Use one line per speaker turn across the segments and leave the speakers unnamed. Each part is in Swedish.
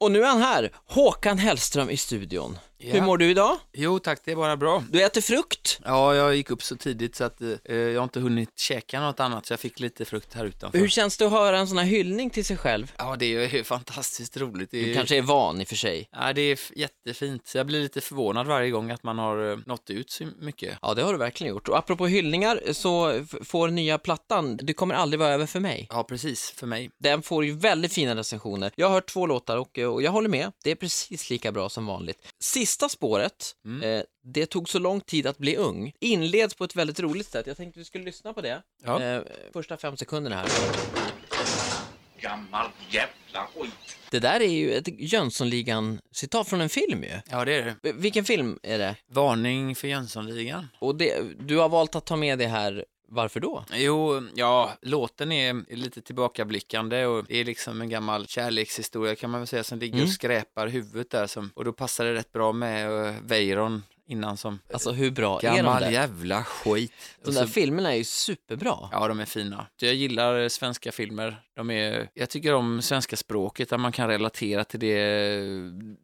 Och nu är han här, Håkan Hellström i studion.
Ja.
Hur mår du idag?
Jo tack, det är bara bra.
Du äter frukt.
Ja, jag gick upp så tidigt så att eh, jag har inte hunnit käka något annat så jag fick lite frukt här utanför.
Hur känns det att höra en sån här hyllning till sig själv?
Ja, det är ju fantastiskt roligt. Det är,
Du kanske är van i och för sig.
ja, det är f- jättefint. Så jag blir lite förvånad varje gång att man har eh, nått ut så mycket.
Ja, det har du verkligen gjort. Och apropå hyllningar så f- får nya plattan Du kommer aldrig vara över för mig.
Ja, precis, för mig.
Den får ju väldigt fina recensioner. Jag har hört två låtar och, och jag håller med. Det är precis lika bra som vanligt. Sista spåret,
Mm.
eh, Det tog så lång tid att bli ung, inleds på ett väldigt roligt sätt. Jag tänkte vi skulle lyssna på det.
Ja.
Eh, första fem sekunderna här.
Gammal jävla skit.
Det där är ju ett Jönssonligan-citat från en film ju.
Ja, det är det.
V- Vilken film är det?
Varning för Jönssonligan.
Och det, du har valt att ta med det här, varför då?
Jo, ja, låten är lite tillbakablickande och det är liksom en gammal kärlekshistoria kan man väl säga som ligger
Mm.
och skräpar huvudet där som, och då passar det rätt bra med uh, Weiron innan som
Alltså hur bra är de
Gammal
där?
jävla skit.
De
Och
där
så-
filmerna är ju superbra.
Ja, de är fina. Jag gillar eh, svenska filmer. De är, jag tycker om svenska språket, där man kan relatera till det, eh,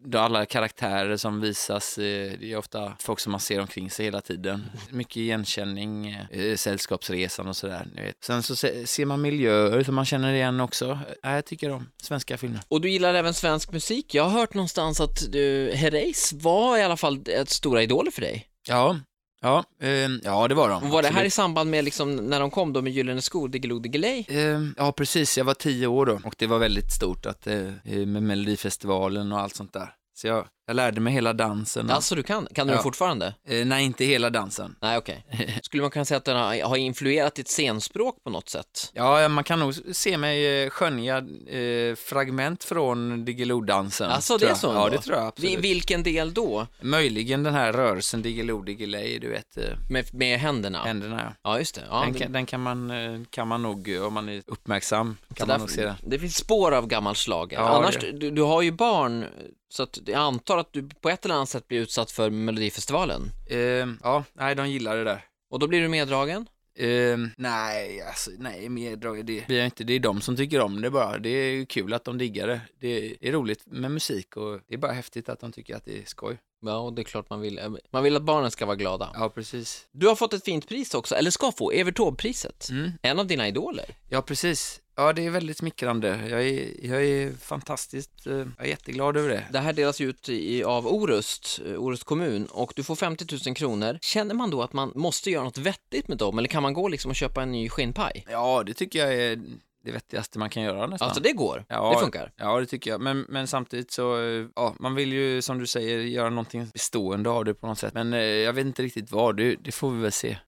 då alla karaktärer som visas. eh, Det är ofta folk som man ser omkring sig hela tiden. Mycket igenkänning, eh, Sällskapsresan och sådär. ni vet. Sen så se- ser man miljöer som man känner igen också. Ja, jag tycker om svenska filmer.
Och du gillar även svensk musik. Jag har hört någonstans att du, Herreys var i alla fall ett stora idoler för dig.
Ja, ja, eh, ja det var de.
Och var det här
absolut.
i samband med liksom när de kom då med Gyllene skor, Diggiloo Diggiley?
Eh, Ja, precis. Jag var tio år då och det var väldigt stort att, eh, eh, med Melodifestivalen och allt sånt där. Så jag, jag lärde mig hela dansen. Och,
Alltså du kan, kan du
Mm. Ja.
den fortfarande?
eh, nej, inte hela dansen.
Nej okej. Skulle man kunna säga att den har, har influerat ditt scenspråk på något sätt?
Ja, ja, man kan nog se mig eh, skönja eh, fragment från Diggiloo-dansen.
Alltså det
tror
är
jag.
så?
Ja,
ändå.
det tror jag absolut.
I vilken del då?
Möjligen den här rörelsen Diggiloo Diggiley, du vet, eh,
Med, med händerna?
händerna ja.
Ja, just det. Ja,
Den,
det-
kan, den kan, man, eh, kan man nog, eh, om man är uppmärksam,
så
kan man
där-
nog se den.
det finns spår av gammal slager.
Ja,
Annars,
det-
du, du har ju barn, så att jag antar att du på ett eller annat sätt blir utsatt för Melodifestivalen.
Eh, ja, nej, de gillar det där.
Och då blir du meddragen?
Ehm, nej, alltså, nej, mer drag, det blir jag inte. Det är de som tycker om det bara. Det är ju kul att de diggar det. Det är, det är roligt med musik och det är bara häftigt att de tycker att det är skoj.
Ja, och det är klart man vill. eh, Man vill att barnen ska vara glada.
Ja, precis.
Du har fått ett fint pris också, eller ska få, Evert Taube-priset.
Mm.
En av dina idoler.
Ja, precis. Ja, det är väldigt smickrande. Jag är, jag är fantastiskt, eh, jag är jätteglad över det.
Det här delas ju ut i, av Orust, eh, Orust kommun, och du får 50 000 kronor. Känner man då att man måste göra något vettigt med dem, eller kan man gå liksom och köpa en ny skinnpaj?
Ja, det tycker jag är det vettigaste man kan göra nästan.
Alltså det går,
Ja,
det funkar.
Ja, det tycker jag. Men, men samtidigt så, eh, ja, man vill ju som du säger göra någonting bestående av det på något sätt. Men eh, jag vet inte riktigt vad, det, det får vi väl se.